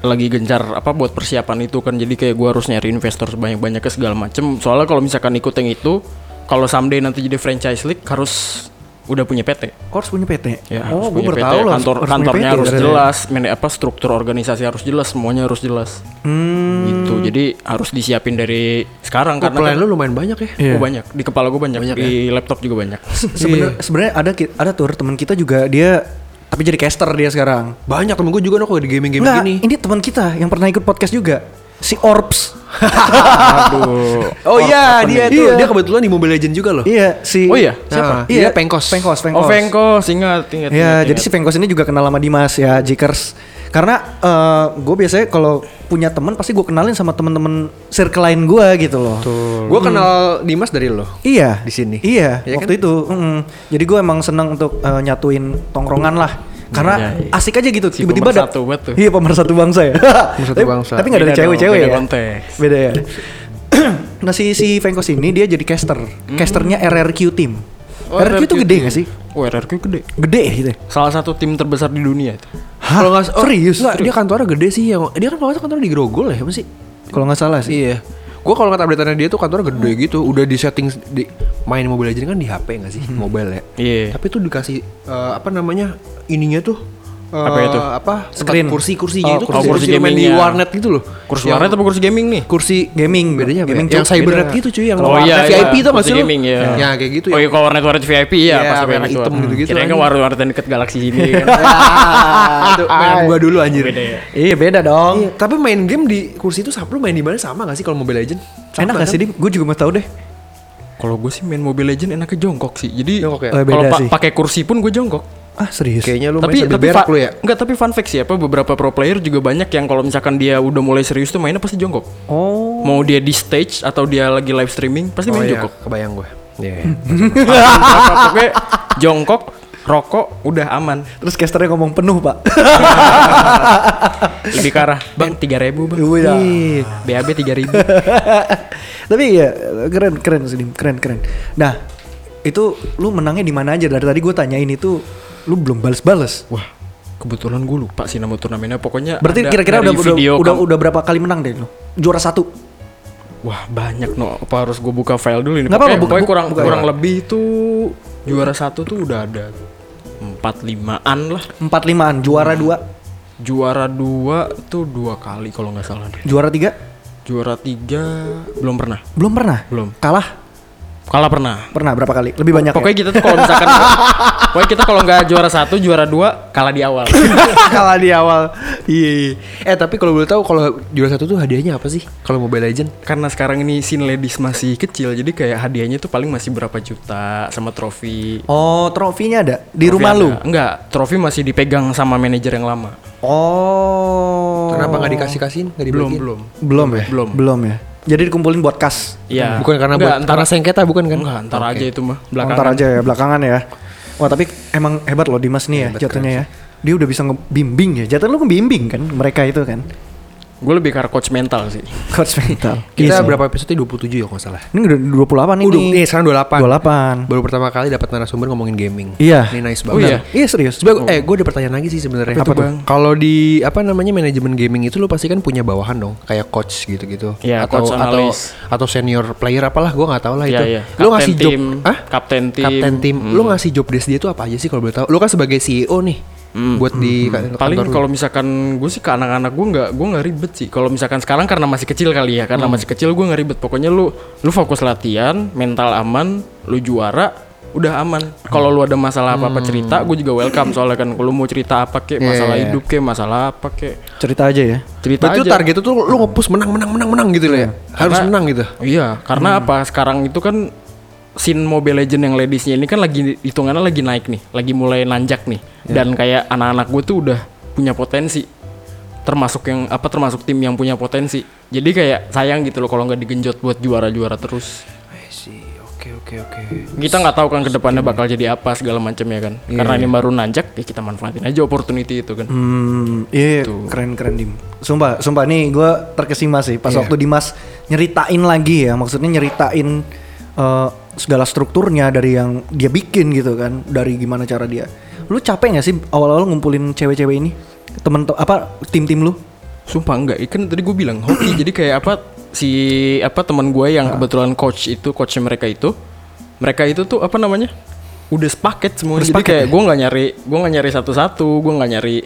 lagi gencar apa buat persiapan itu kan jadi kayak gue harus nyari investor sebanyak banyaknya segala macem soalnya kalau misalkan ikut yang itu kalau someday nanti jadi franchise league harus udah punya PT Kau harus punya PT. ya oh, harus gue punya PT. bertahu loh. kantor harus punya PT kantornya harus berarti. ya. jelas mana apa struktur organisasi harus jelas semuanya harus jelas Hmm. gitu jadi harus disiapin dari sekarang Oh, karena plan kan lu lumayan banyak ya. Iya. gua banyak di kepala gue banyak, di laptop juga banyak Sebenar- Sebenarnya ada ki- ada tuh teman kita juga dia tapi jadi caster dia sekarang. Banyak temen gue juga nongol di gaming-gaming Enggak, gini. ini teman kita yang pernah ikut podcast juga. Si Orbs. aduh Oh iya, dia nih? tuh. Iya. Dia kebetulan di Mobile Legend juga loh. iya, si Oh iya? Nah, Siapa? dia Pengkos. Pengkos, Pengkos. oh Vengkos ingat ingat Ya, ingat, jadi ingat. si Pengkos ini juga kenal sama Dimas ya, Jikers. Karena gue biasanya kalau punya teman pasti gue kenalin sama teman-teman circle lain gue gitu loh. Gue kenal Dimas dari lo. Iya. Di sini. Iya. kan? Iya waktu itu. mm-mm. Jadi gue emang seneng untuk eh, nyatuin tongkrongan lah. Karena Iya, iya. asik aja gitu. Si Tiba-tiba ada. pemersatu banget tuh. Iya pemersatu bangsa ya. Pemersatu Tapi- bangsa. Tapi nggak ada Beda cewek-cewek dong, ya. beda konteks. Beda ya. nah si si Venkos ini dia jadi caster. Casternya RRQ team. Hmm. Oh, RRQ, itu gede team. gak sih? Oh RRQ gede Gede ya gitu. ya? Salah satu tim terbesar di dunia itu. Hah? nggak oh, serius? nggak, dia kantornya gede sih. Yang, dia kan kalau kantornya di Grogol ya apa sih? Kalau nggak salah sih. Iya. Gue kalau ngeliat update-annya dia tuh kantornya gede Hmm. gitu. Udah di setting di main Mobile Legend kan di HP nggak sih? Mobile ya. Iya. Tapi tuh dikasih eh, apa namanya? Ininya tuh eh, Apa itu? Apa? Screen. Kursi-kursinya Oh, itu kursi. kursi, Kursi main di gamingnya. warnet gitu loh. Kursi Yang- warnet apa kursi gaming nih? kursi Gaming bedanya apa? Gaming ya? Yang cukup cybernet beda. gitu cuy, yang Oh, warnet iya, iya. VIP tuh masih Kursi lu? gaming, iya. Ya kayak gitu Oh ya. iya kalau warnet warnet VIP ya Iya, pasti warna warna hitam gitu-gitu Kirain kan kan. warnet warnet yang deket galaksi sini kan. Ah, itu mainan gua dulu anjir. Beda ya. Iya beda dong. Iya, tapi main game di kursi itu sama lu main di mana sama gak sih kalau Mobile Legend? Iya. Enak gak kan? sih Dim? Gue juga mau tahu deh. Kalau gue sih main Mobile Legend enaknya jongkok sih. Jadi Jongkok ya? Eh, beda kalau pa- sih. pakai kursi pun gue jongkok. Ah serius? Kayaknya lu tapi main sambil tapi berak fa- lu ya. Enggak, tapi fun fact sih apa beberapa pro player juga banyak yang kalau misalkan dia udah mulai serius tuh mainnya pasti jongkok. Oh. Mau dia di stage atau dia lagi live streaming pasti iya. main jongkok. Oh, kebayang gue. Iya. Apa, Pokoknya jongkok, rokok udah aman. Terus casternya ngomong penuh pak. Lebih ke arah bang 3000 bang. Iya. Ih, BAB 3000. Tapi ya keren keren sih Dim. keren keren. Nah itu lu menangnya di mana aja dari tadi gue tanyain itu lu belum bales-bales. Wah, kebetulan gue lupa sih nama turnamennya. Pokoknya Berarti ada kira-kira dari udah, udah video udah kam- udah berapa kali menang deh lu? Juara satu. Wah, banyak no. Apa harus gue buka file dulu ini? Nggak apa-apa, Pokoknya, buka- pokoknya buka- kurang buka kurang ya. lebih itu juara satu tuh udah ada empat limaan lah. Empat Hmm. limaan. Juara dua. Juara dua tuh dua kali kalau nggak salah deh. Juara tiga. Juara tiga belum pernah. Belum pernah? Belum. Kalah? Kalah pernah. Pernah berapa kali? Lebih banyak ya? Pokoknya kita tuh kalau misalkan Pokoknya kita kalau nggak juara satu, juara dua, kalah di awal. Kalah di awal. Iya. iya. Eh tapi kalau boleh tahu kalau juara satu tuh hadiahnya apa sih? Kalau Mobile Legend? Karena sekarang ini scene ladies masih kecil, jadi kayak hadiahnya tuh paling masih berapa juta sama trofi. ya? Oh, trofinya ada? Di Trofi rumah ada. lu? Enggak, trofi masih dipegang sama manajer yang lama. Oh. Kenapa nggak dikasih kasihin? Nggak Belum, dibagiin? belum. Belum ya? Belum. Belum ya? Jadi dikumpulin buat kas? Ya. Iya. Bukan karena Enggak, buat ntar, karena sengketa bukan kan? enggak, ntar aja itu mah belakangan. Ntar aja ya, belakangan ya. Wah tapi emang hebat loh Dimas nih ya jatuhnya ya. Dia udah bisa ngebimbing ya. Jatuh lu ngebimbing kan mereka itu kan. Gue lebih karena coach mental sih. Coach mental. Iya Kita sih. berapa episode? 27 ya kalau nggak salah. Ini udah 28 ini. Udah, eh, sekarang 28. 28. Baru pertama kali dapat narasumber ngomongin gaming. Iya. Ini nice Oh, banget. iya. Iya serius. Sebenernya, eh gue ada pertanyaan lagi sih sebenarnya. Apa tuh, Bang? Kalau di apa namanya manajemen gaming itu lu pasti kan punya bawahan dong, kayak coach gitu-gitu. Iya, atau coach, atau analis. atau senior player apalah, gue nggak tahu lah Iya, itu. iya. Lu Kapten ngasih job, tim. ah? Kapten tim. Hmm. Kapten tim. Lu ngasih job desk dia itu apa aja sih kalau boleh tahu? Lu kan sebagai CEO nih, buat di ka- kantor Hmm. Paling lu. kalau misalkan gue sih ke anak-anak gue nggak gue nggak ribet sih. Kalau misalkan sekarang karena masih kecil kali ya, karena Hmm. masih kecil gue nggak ribet. Pokoknya lu lu fokus latihan, mental aman, lu juara, udah aman. Kalau lu ada masalah apa apa cerita, gue juga welcome soalnya kan kalau mau cerita apa kek, Hmm. masalah iya, iya. hidup kek, masalah apa kek, Cerita aja ya. cerita Berarti lu aja. target itu tuh lu nge-push menang menang menang menang gitu lah ya. Harus menang gitu. Iya, karena apa? Sekarang itu kan scene Mobile Legend yang ladiesnya ini kan lagi hitungannya lagi naik nih, lagi mulai nanjak nih. Dan kayak anak-anak gue tuh udah punya potensi, termasuk yang apa termasuk tim yang punya potensi. Jadi kayak sayang gitu loh kalau nggak digenjot buat juara-juara terus. Oke oke oke. Kita nggak tahu kan kedepannya bakal jadi apa segala macam ya kan. Karena ini baru nanjak, ya kita manfaatin aja opportunity itu kan. Hmm, iya Gitu. keren keren Dim. Sumpah, sumpah nih gue terkesima sih Iya. pas waktu Dimas nyeritain lagi ya, maksudnya nyeritain eh, segala strukturnya dari yang dia bikin gitu kan, dari gimana cara dia. Lu capek gak sih awal-awal ngumpulin cewek-cewek ini? Temen te- apa tim-tim lu? Sumpah enggak, ikan tadi gue bilang hoki. jadi kayak apa si apa teman gue Ah. yang kebetulan coach itu coachnya mereka itu, mereka itu tuh apa namanya udah sepaket semua. Udah Jadi sepaket ya? kayak gue nggak nyari, gue nggak nyari satu-satu, gue nggak nyari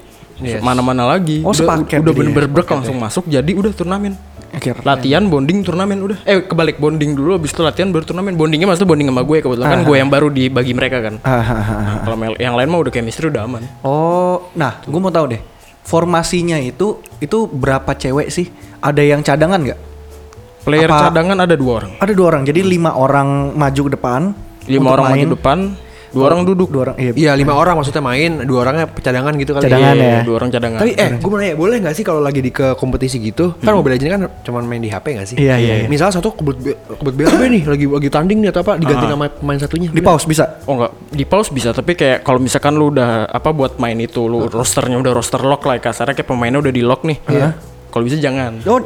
mana-mana lagi. Oh, udah, sepaket ya? Udah jadi bener-bener brek langsung masuk. Jadi udah turnamen. Akhir. Latihan bonding turnamen udah. Eh kebalik bonding dulu, habis itu latihan baru turnamen. Bondingnya maksudnya bonding sama gue kebetulan kan gue yang baru dibagi mereka kan. Ah, ah, ah, ah. Kalau mel- yang lain mah udah chemistry udah aman. Oh, nah gue mau tahu deh. Formasinya itu itu berapa cewek sih? Ada yang cadangan nggak? Player Apa- cadangan ada dua orang. Ada dua orang, jadi lima orang maju ke depan. untuk Lima orang main. maju depan, dua orang duduk. Dua orang, iya. Iya lima orang maksudnya main, dua orangnya cadangan gitu kali. Cadangan Iya, ya. Dua orang cadangan. Tapi eh gue mau nanya boleh nggak sih kalau lagi di ke kompetisi gitu kan Mobile Legends kan cuman main di HP nggak sih? Iya, iya, iya. Misalnya satu kebut kebut BLB nih lagi lagi tanding nih atau apa diganti nama pemain satunya. Di pause bisa. Oh enggak, di pause bisa, tapi kayak kalau misalkan lu udah apa buat main itu, lu rosternya udah roster lock lah kasarnya kayak pemainnya udah di lock nih. Iya. Kalau bisa jangan. Oh,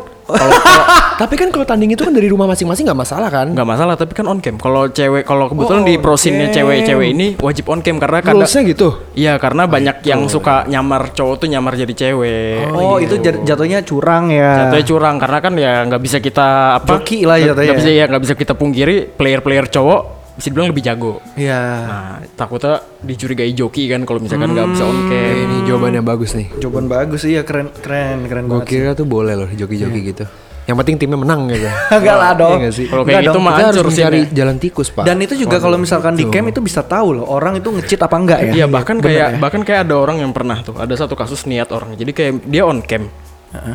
Tapi kan kalau tanding itu kan dari rumah masing-masing nggak masalah kan? Enggak masalah, tapi kan on cam. Kalau cewek kalau kebetulan Oh, di prosinnya cewek-cewek ini wajib on cam karena kadang Rulesnya gitu. Iya, karena banyak yang suka nyamar cowok tuh nyamar jadi cewek. oh itu jat- jatuhnya curang ya. Jatuhnya curang karena kan ya nggak bisa kita apa? Joki lah nggak- jatuhnya. nggak bisa ya nggak bisa kita pungkiri player-player cowok bisa dibilang lebih jago. Iya. Nah, takutnya dicurigai joki kan kalau misalkan nggak bisa on cam. Ini jawaban yang bagus nih. Jawaban bagus iya keren keren keren Gue banget. kira tuh boleh loh joki-joki gitu. Yang penting timnya menang gitu. Enggak lah dong. nggak sih? Kalau Nggak kayak gitu dong, mah Kita harus hancur sih. mencari jalan tikus pak. Dan itu juga kalau misalkan di camp itu bisa tahu loh orang itu ngecit apa enggak ya. Iya bahkan kayak bahkan kayak ada orang yang pernah tuh ada satu kasus niat orang. Jadi kayak dia on cam.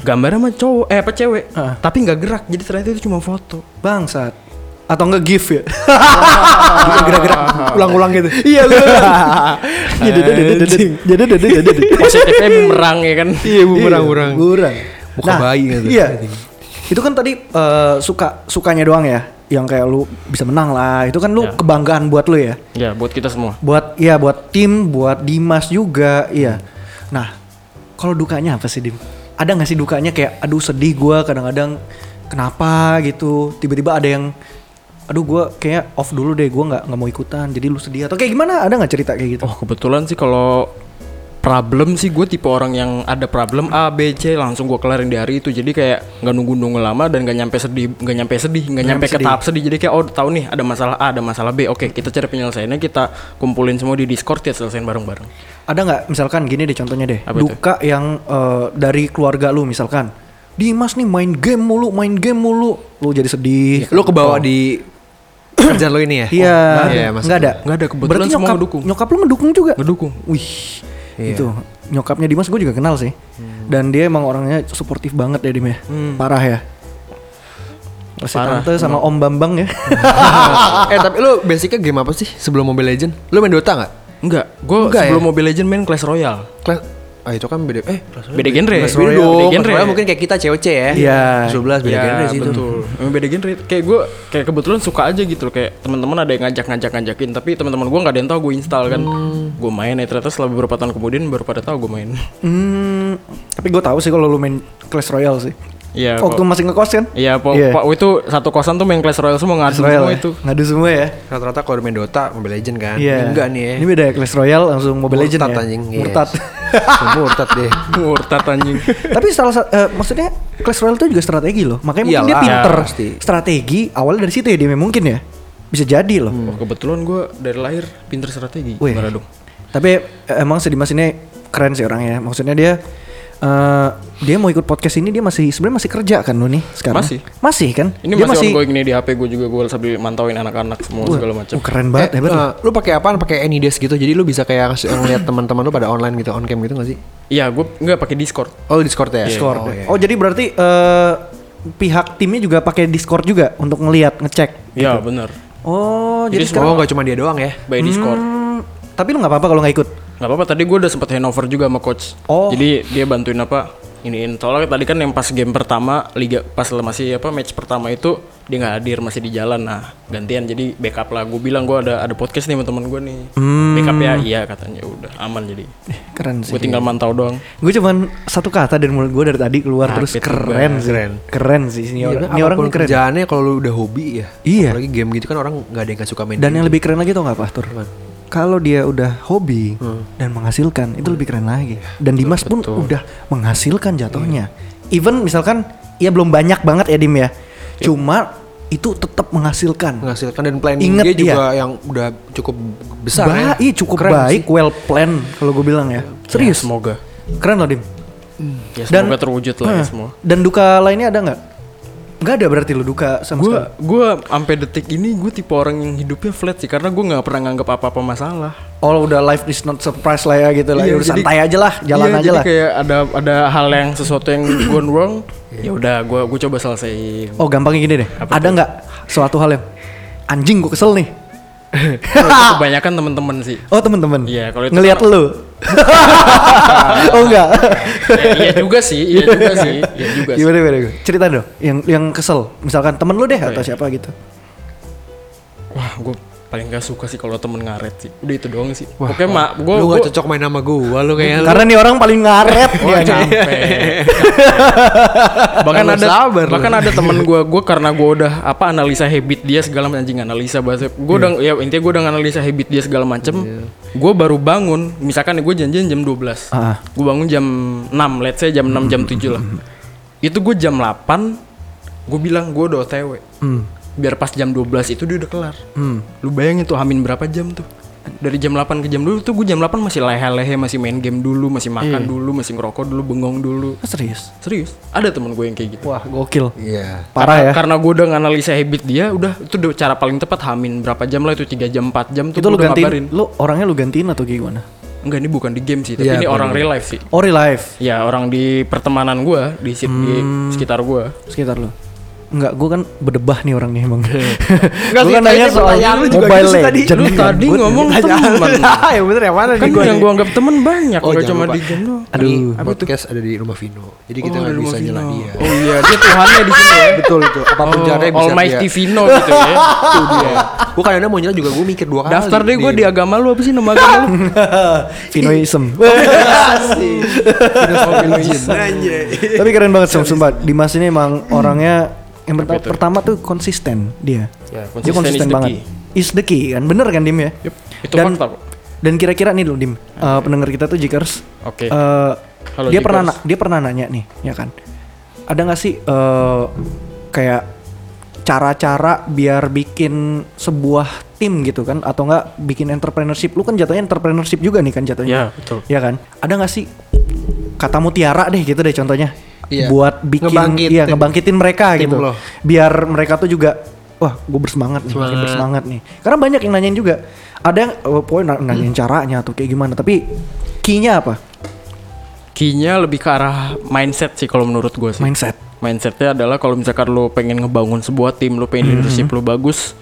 Gambarnya sama cowok eh apa cewek, tapi nggak gerak. Jadi ternyata itu cuma foto. Bangsat. Atau enggak give ya. gerak-gerak ulang-ulang gitu. Iya lu. Jadi jadi jadi jadi jadi jadi. Positifnya bumerang ya kan. Iya bu, kurang-kurang. Kurang. Muka bayi gitu. Iya. Itu kan tadi eh, suka sukanya doang ya, yang kayak lu bisa menang lah. Itu kan lu Iya. kebanggaan buat lu ya. Ya buat kita semua. Buat ya buat tim, buat Dimas juga, iya. Nah, kalau dukanya apa sih Dim? Ada nggak sih dukanya kayak aduh sedih gua kadang-kadang kenapa gitu. Tiba-tiba ada yang aduh gua kayak off dulu deh, gua nggak nggak mau ikutan. Jadi lu sedih atau kayak gimana? Ada nggak cerita kayak gitu? Oh kebetulan sih kalau problem sih gue tipe orang yang ada problem A B C langsung gue kelarin di hari itu jadi kayak nggak nunggu nunggu lama dan nggak nyampe sedih nggak nyampe sedih nggak nyampe ke tahap sedih jadi kayak oh tahu nih ada masalah A ada masalah B oke kita cari penyelesaiannya kita kumpulin semua di Discord ya selesaiin bareng bareng Ada nggak misalkan gini deh contohnya deh Apa itu? duka yang eh, dari keluarga lu misalkan Dimas nih main game mulu, main game mulu. Lu jadi sedih. Iya, Lu kebawa di kerjaan lu ini ya? Iya, Oh, nggak ada. Iya, nggak ada. Nggak ada, kebetulan Berarti semua nyokap, mendukung. Nyokap lu mendukung juga? Ngedukung. Wih, itu nyokapnya Dimas gue juga kenal sih. Dan dia emang orangnya suportif banget ya Dim ya, parah ya. Masih Parah. tante sama Om Bambang ya. eh tapi lu basicnya game apa sih sebelum Mobile Legend? Lu main Dota nggak? Enggak, gue Enggak sebelum ya? Mobile Legend main Clash Royale. Clash ah itu kan beda eh Beda genre. Clash Royale Beda dong. genre. Clash Royale mungkin kayak kita COC ya. Iya. 12 beda genre sih itu. betul. Emang beda genre. Kayak gue kayak kebetulan suka aja gitu loh kayak teman-teman ada yang ngajak-ngajak ngajakin tapi teman-teman gue nggak ada yang tahu gue install kan. Gue main ya ternyata setelah beberapa tahun kemudian baru pada tahu gue main. Hmm, tapi gue tahu sih kalau lu main Clash Royale sih. Iya. kok- Waktu masih ngekos kan? Iya, po, Iya. po- itu satu kosan tuh main Clash Royale semua ngadu Clash Royale semua ya? itu. Ngadu semua ya. Rata-rata kalau main Dota Mobile Legend kan. Iya. Enggak nih ya. Ini beda ya Clash Royale langsung Mobile Legends Murtad ya. anjing. Yes. Murtad. Murtad deh. Murtad anjing. Tapi salah sa- eh, maksudnya Clash Royale itu juga strategi loh. Makanya mungkin dia Iyalah, pinter ya, pasti. strategi awalnya dari situ ya dia mungkin ya. Bisa jadi loh. Wah, kebetulan gue dari lahir pinter strategi. Wih. Gimana dong? Tapi eh, emang si Dimas ini keren sih orangnya. Maksudnya dia eh, dia mau ikut podcast ini dia masih sebenarnya masih kerja kan lo nih sekarang? Masih. Masih kan? Ini dia masih, ongoing nih di HP gue juga gue sambil mantauin anak-anak semua Wah, segala macam. oh, keren banget Eh, hebat. loh. eh, lu pakai apaan? Pakai Anydesk gitu. Jadi lu bisa kayak ngasih- ngeliat teman-teman lu pada online gitu, on cam gitu gak sih? Iya, gue nggak pakai Discord. Oh, lu Discord Eh, ya? Discord. Oh, Oh, iya. jadi berarti eh, pihak timnya juga pakai Discord juga untuk ngelihat, ngecek. Iya, bener. Oh, jadi, Jadi sekarang Oh, gak cuma dia doang ya? By Discord. Hmm, tapi lu nggak apa-apa kalau nggak ikut. Gak apa-apa tadi gue udah sempet handover juga sama coach. Oh. Jadi dia bantuin apa? Iniin. Soalnya tadi kan yang pas game pertama liga pas masih apa match pertama itu dia nggak hadir masih di jalan. Nah gantian jadi backup lah. Gue bilang gue ada ada podcast nih sama teman gue nih. Backup ya iya katanya udah aman jadi. Eh, keren sih. Gue tinggal mantau doang. Gue cuman satu kata dari mulut gue dari tadi keluar terus Kaget keren sih. Keren. sih ini orang. Ini orang Iya, Apapun keren. kerjaannya kalau lu udah hobi ya. Iya. Apalagi game gitu kan orang nggak ada yang gak suka main. Dan game. yang lebih keren lagi tau nggak Pak Tur? Kalau dia udah hobi Hmm. dan menghasilkan itu lebih keren lagi. Iya, Dan Dimas pun udah menghasilkan jatuhnya. Iya. Even misalkan ya belum banyak banget ya Dim ya. Cuma itu tetap menghasilkan. menghasilkan dan planning Ingat dia dia. juga yang udah cukup besar Ba- ya. iya, cukup Keren baik, sih. Iya. well planned kalau gue bilang ya. Serius, Iya, Semoga. keren loh Dim. Ya Dan- semoga terwujud lah ya Hah. semua. Dan duka lainnya ada nggak? Nggak ada berarti lo duka sama Gue sekali. gue sampai detik ini gue tipe orang yang hidupnya flat sih karena gue nggak pernah nganggap apa-apa masalah. Oh udah life is not surprise lah ya gitu lah. Ya Iya, udah jadi- santai aja lah, jalan Iya, aja jadi lah. kayak ada ada hal yang sesuatu yang gone wrong ya udah gua gua coba selesaiin Oh gampangnya gini deh. ada nggak suatu hal yang anjing gue kesel nih? kebanyakan temen-temen sih Oh temen-temen. Iya, kalau itu ngelihat kan- lu. oh enggak. Ya, iya juga sih iya juga sih iya juga sih Gimana gimana gua? Cerita dong yang yang kesel. Misalkan temen lu deh Oh, iya. atau siapa gitu. wah gua paling gak suka sih kalau temen ngaret sih udah itu doang sih Wah, pokoknya mak gua lu gua gak cocok main sama gua lu kayaknya Ya, lu. Karena nih orang paling ngaret Gua dia. nih. capek. Iya. bahkan Lu ada sabar lu. bahkan ada temen gua gua karena gua udah apa analisa habit dia segala macam anjing analisa bahasa gua udah ya intinya gua udah analisa habit dia segala macem gua baru bangun misalkan gue janjian jam 12 Ah. gue bangun jam 6 let's say jam 6 jam 7 lah itu gue jam 8 gue bilang gue udah otw biar pas jam 12 itu dia udah kelar lu bayangin tuh hamin berapa jam tuh dari jam 8 ke jam dulu tuh gue jam 8 masih lehe-lehe masih main game dulu masih makan dulu masih ngerokok dulu bengong dulu Ah, Serius. serius ada temen gue yang kayak gitu Wah gokil. Iya. Parah ya. karena gue udah nganalisa habit dia udah itu udah cara paling tepat hamin berapa jam lah itu 3 jam 4 jam tuh Itu lu gua udah gantiin, lu orangnya lu gantiin atau gimana? enggak ini bukan di game sih tapi Iya, ini bukan orang di real life sih Ori life Ya orang di pertemanan gua di, sit- di sekitar gua sekitar lu. Enggak, gue kan berdebah nih orang nih emang. kan Enggak Enggak sih, kayaknya pertanyaan lu juga gitu sih tadi. Lu tadi kan ngomong teman. ya bener ya mana Iya, Kan nih gua yang nih? gua anggap temen banyak Oh, Gak jangan cuma lupa. di game doang Aduh, Aduh. podcast ada di rumah Vino. Jadi kita Oh, nggak ada bisa rumah nyela Vino. dia. Oh iya dia Tuhannya di sini ya Betul itu. Apapun Oh, caranya bisa Almighty dia. Vino gitu ya Tuh dia Gua kadang mau nyela juga gua mikir dua kali. Daftar deh gua Dim. di agama lu apa sih nama agama lu Vinoism. Iya, Nah, Tapi keren banget sumpah, sumpah. Dimas ini emang orangnya yang pertama, pertama tuh konsisten dia. Ya, dia konsisten konsisten is the banget. Is the key kan bener kan Dim ya? Yup, itu fakta kok. Dan kira-kira nih loh Dim, eh, pendengar kita tuh Jikers. Oke. Eh, Halo, dia Jikers. pernah na- dia pernah nanya nih, ya kan. Ada nggak sih eh, kayak cara-cara biar bikin sebuah tim gitu kan atau enggak bikin entrepreneurship lu kan jatuhnya entrepreneurship juga nih kan jatuhnya Ya betul Iya kan? Ada nggak sih kata mutiara deh gitu deh contohnya. Iya. buat bikin Ngebangkitin. iya ngebangkitin mereka Tim gitu lo. biar mereka tuh juga wah gue bersemangat nih makin bersemangat nih karena banyak yang nanyain juga ada yang eh, pokoknya na- Hmm. nanyain caranya atau kayak gimana tapi key-nya apa Key-nya lebih ke arah mindset sih kalau menurut gue sih. mindset Mindsetnya adalah kalau misalkan lo pengen ngebangun sebuah tim, lo pengen leadership lo bagus,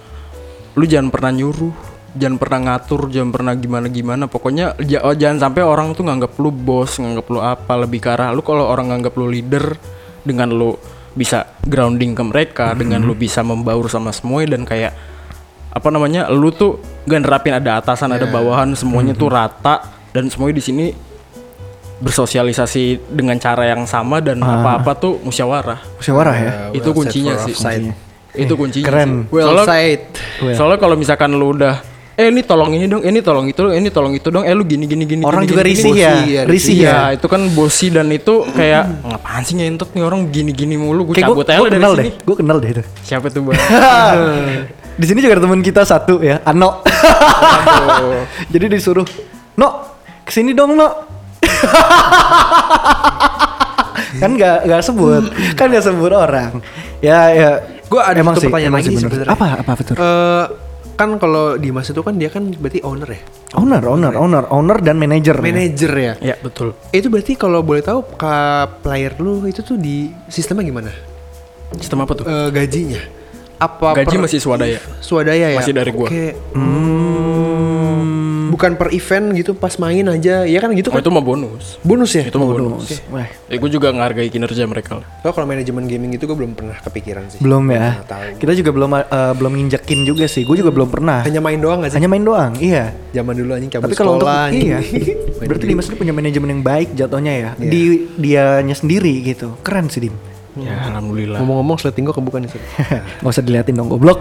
lo jangan pernah nyuruh, jangan pernah ngatur, jangan pernah gimana-gimana. Pokoknya ja- oh, jangan sampai orang tuh nganggap lo bos, nganggap lo apa, lebih ke arah lo kalau orang nganggap lo leader dengan lo bisa grounding ke mereka, dengan lo bisa membaur sama semuanya dan kayak apa namanya? lo tuh gak nerapin ada atasan, ada bawahan, semuanya tuh rata dan semuanya di sini bersosialisasi dengan cara yang sama dan apa-apa tuh musyawarah. musyawarah ya itu kuncinya sih. Itu kuncinya. keren. Sih. Soalnya, Well. soalnya kalau misalkan lu udah eh ini tolong ini dong, ini tolong itu, ini tolong itu dong, eh lu gini gini gini. orang gini, juga gini, risih gini. ya Bosi, ya, risih Iya, ya itu kan bosi dan itu kayak ngapain sih ngentot nih orang gini-gini mulu gue kayak cabut aja gue dari kenal sini. deh gue kenal deh itu Siapa tuh, Bang? di sini juga ada teman kita satu ya Ano jadi disuruh No kesini dong No kan nggak nggak sebut kan nggak sebut orang ya ya Gua ada emang satu sih, pertanyaan emang lagi sih nih bener. sebenarnya. apa apa betul Eh, kan kalau Dimas itu kan dia kan berarti owner ya, owner Iya. owner owner owner dan manager manager ya. ya, betul. Itu berarti kalau boleh tahu ke player lu itu tuh di sistemnya gimana? Sistem apa tuh? Eh, gajinya? Apa Gaji masih swadaya. Swadaya ya. Masih dari gua. Oke. Hmm. Bukan per event gitu pas main aja. Ya kan gitu Oh, kan. itu mah bonus. bonus ya? Itu mah Bonus. bonus. Wah, Ya, gue juga ngehargai kinerja mereka lah. Oh, kalau manajemen gaming itu gue belum pernah kepikiran sih. belum ya Nggak tahu. kita juga belum eh, belum nginjekin juga sih gue juga belum pernah Hanya main doang gak sih? hanya main doang iya Zaman dulu anjing kabel Tapi kalau untuk sekolah, gitu. anjing. iya, berarti Dimas ini punya manajemen yang baik jatuhnya ya. Iya. Di dianya sendiri gitu. Keren sih Dim. Ya, alhamdulillah. Ngomong-ngomong sleting gue kebuka nih. Sat. Nggak usah diliatin dong goblok.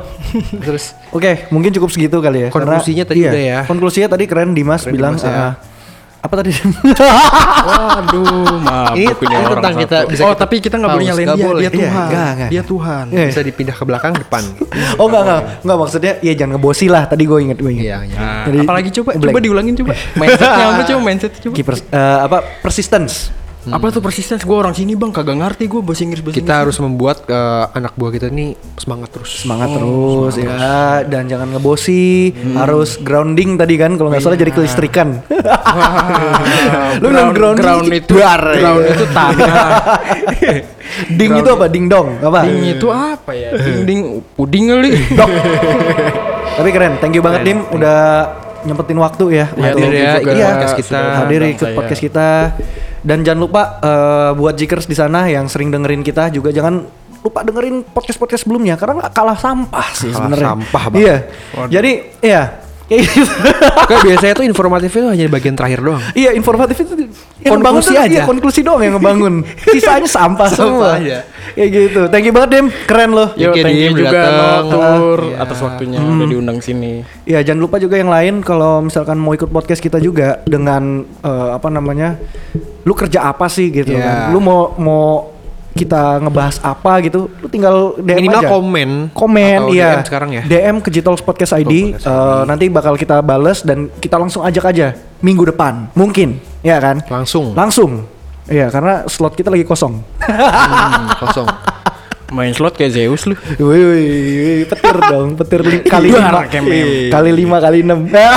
Terus Oke, mungkin cukup segitu kali ya. Karena- Konklusinya tadi udah ya. Konklusinya tadi keren Dimas Keren bilang Dimas ya. "Ah, apa tadi? Waduh, maaf. Ini- aku pilih ini orang tentang satu. kita- bisa oh, kita tapi kita nggak boleh pause, nyalain dia. nggak boleh. Dia Iya, Tuhan. nggak, nggak. Dia Tuhan. Iya. bisa dipindah ke belakang depan. oh enggak enggak enggak maksudnya ya jangan ngebosi lah tadi gue inget gue inget. Iya, iya. Nah, Jadi- apalagi coba, Black. coba diulangin coba. Mindsetnya apa coba? Mindset coba. Keepers- eh, apa persistence. Hmm. Apa tuh persistence? Gue orang sini bang, kagak ngerti gue bahasa Inggris bahasa Kita Inggris. harus membuat eh, anak buah kita nih semangat terus. Oh, Semangat terus ya dan jangan ngebosi, Hmm. harus grounding tadi kan kalau nggak salah jadi Iya. kelistrikan. Lu bilang grounding ground sih, itu ground itu tanah. ding itu apa? Ding dong apa? Ding itu apa ya? Eh. Ding ding puding kali. Dok. Tapi keren, thank you banget Dim udah nyempetin waktu ya Ya, untuk hadir ya, juga ikut iya, podcast kita. ya. hadir Undang ikut saya. podcast kita dan jangan lupa eh, buat jikers di sana yang sering dengerin kita juga jangan lupa dengerin podcast podcast sebelumnya karena nggak kalah sampah sih Kalah sebenarnya sampah banget. iya jadi iya Kayak gitu. Kayak biasanya tuh informatifnya tuh hanya di bagian terakhir doang. iya informatif itu yang Konklusi ngebangun tuh aja. iya, konklusi doang yang ngebangun sisanya sampah, semua Sampah aja. kayak gitu thank you banget Dim keren loh Yo, Oke, thank Dim, you udah juga datang. Notur Iya. atas waktunya udah diundang sini. Ya jangan lupa juga yang lain kalau misalkan mau ikut podcast kita juga dengan eh, apa namanya, lu kerja apa sih gitu kan? Iya. Lu mau mau kita ngebahas apa gitu? Lu tinggal DM Minimal aja. komen. Komen, Atau iya. DM sekarang ya. DM ke Jitols Podcast ID. Podcast eh, nanti bakal kita bales dan kita langsung ajak aja minggu depan, mungkin, ya kan? Langsung. Langsung, iya karena slot kita lagi kosong. Hmm, kosong. Main slot kayak Zeus lu. Woi, woi, woi, petir dong, petir li- kali Iya, lima, anaknya mem. kali lima, kali enam. Ya.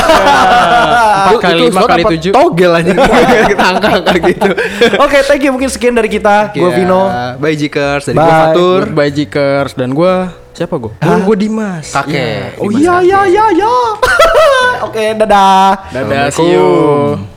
Empat Itu- kali itu lima slot kali apa tujuh. Togel anjing. Tangka kayak gitu. Oke, thank you. Mungkin sekian dari kita. Gue Iya. Vino. Bye Iya. Jikers dari Bye. gua Fatur. By Jikers dan gue siapa gue? Gue Dimas. Kakek. Iya. Oh iya, iya, iya, iya. ya, Oke, dadah. Dadah, see you.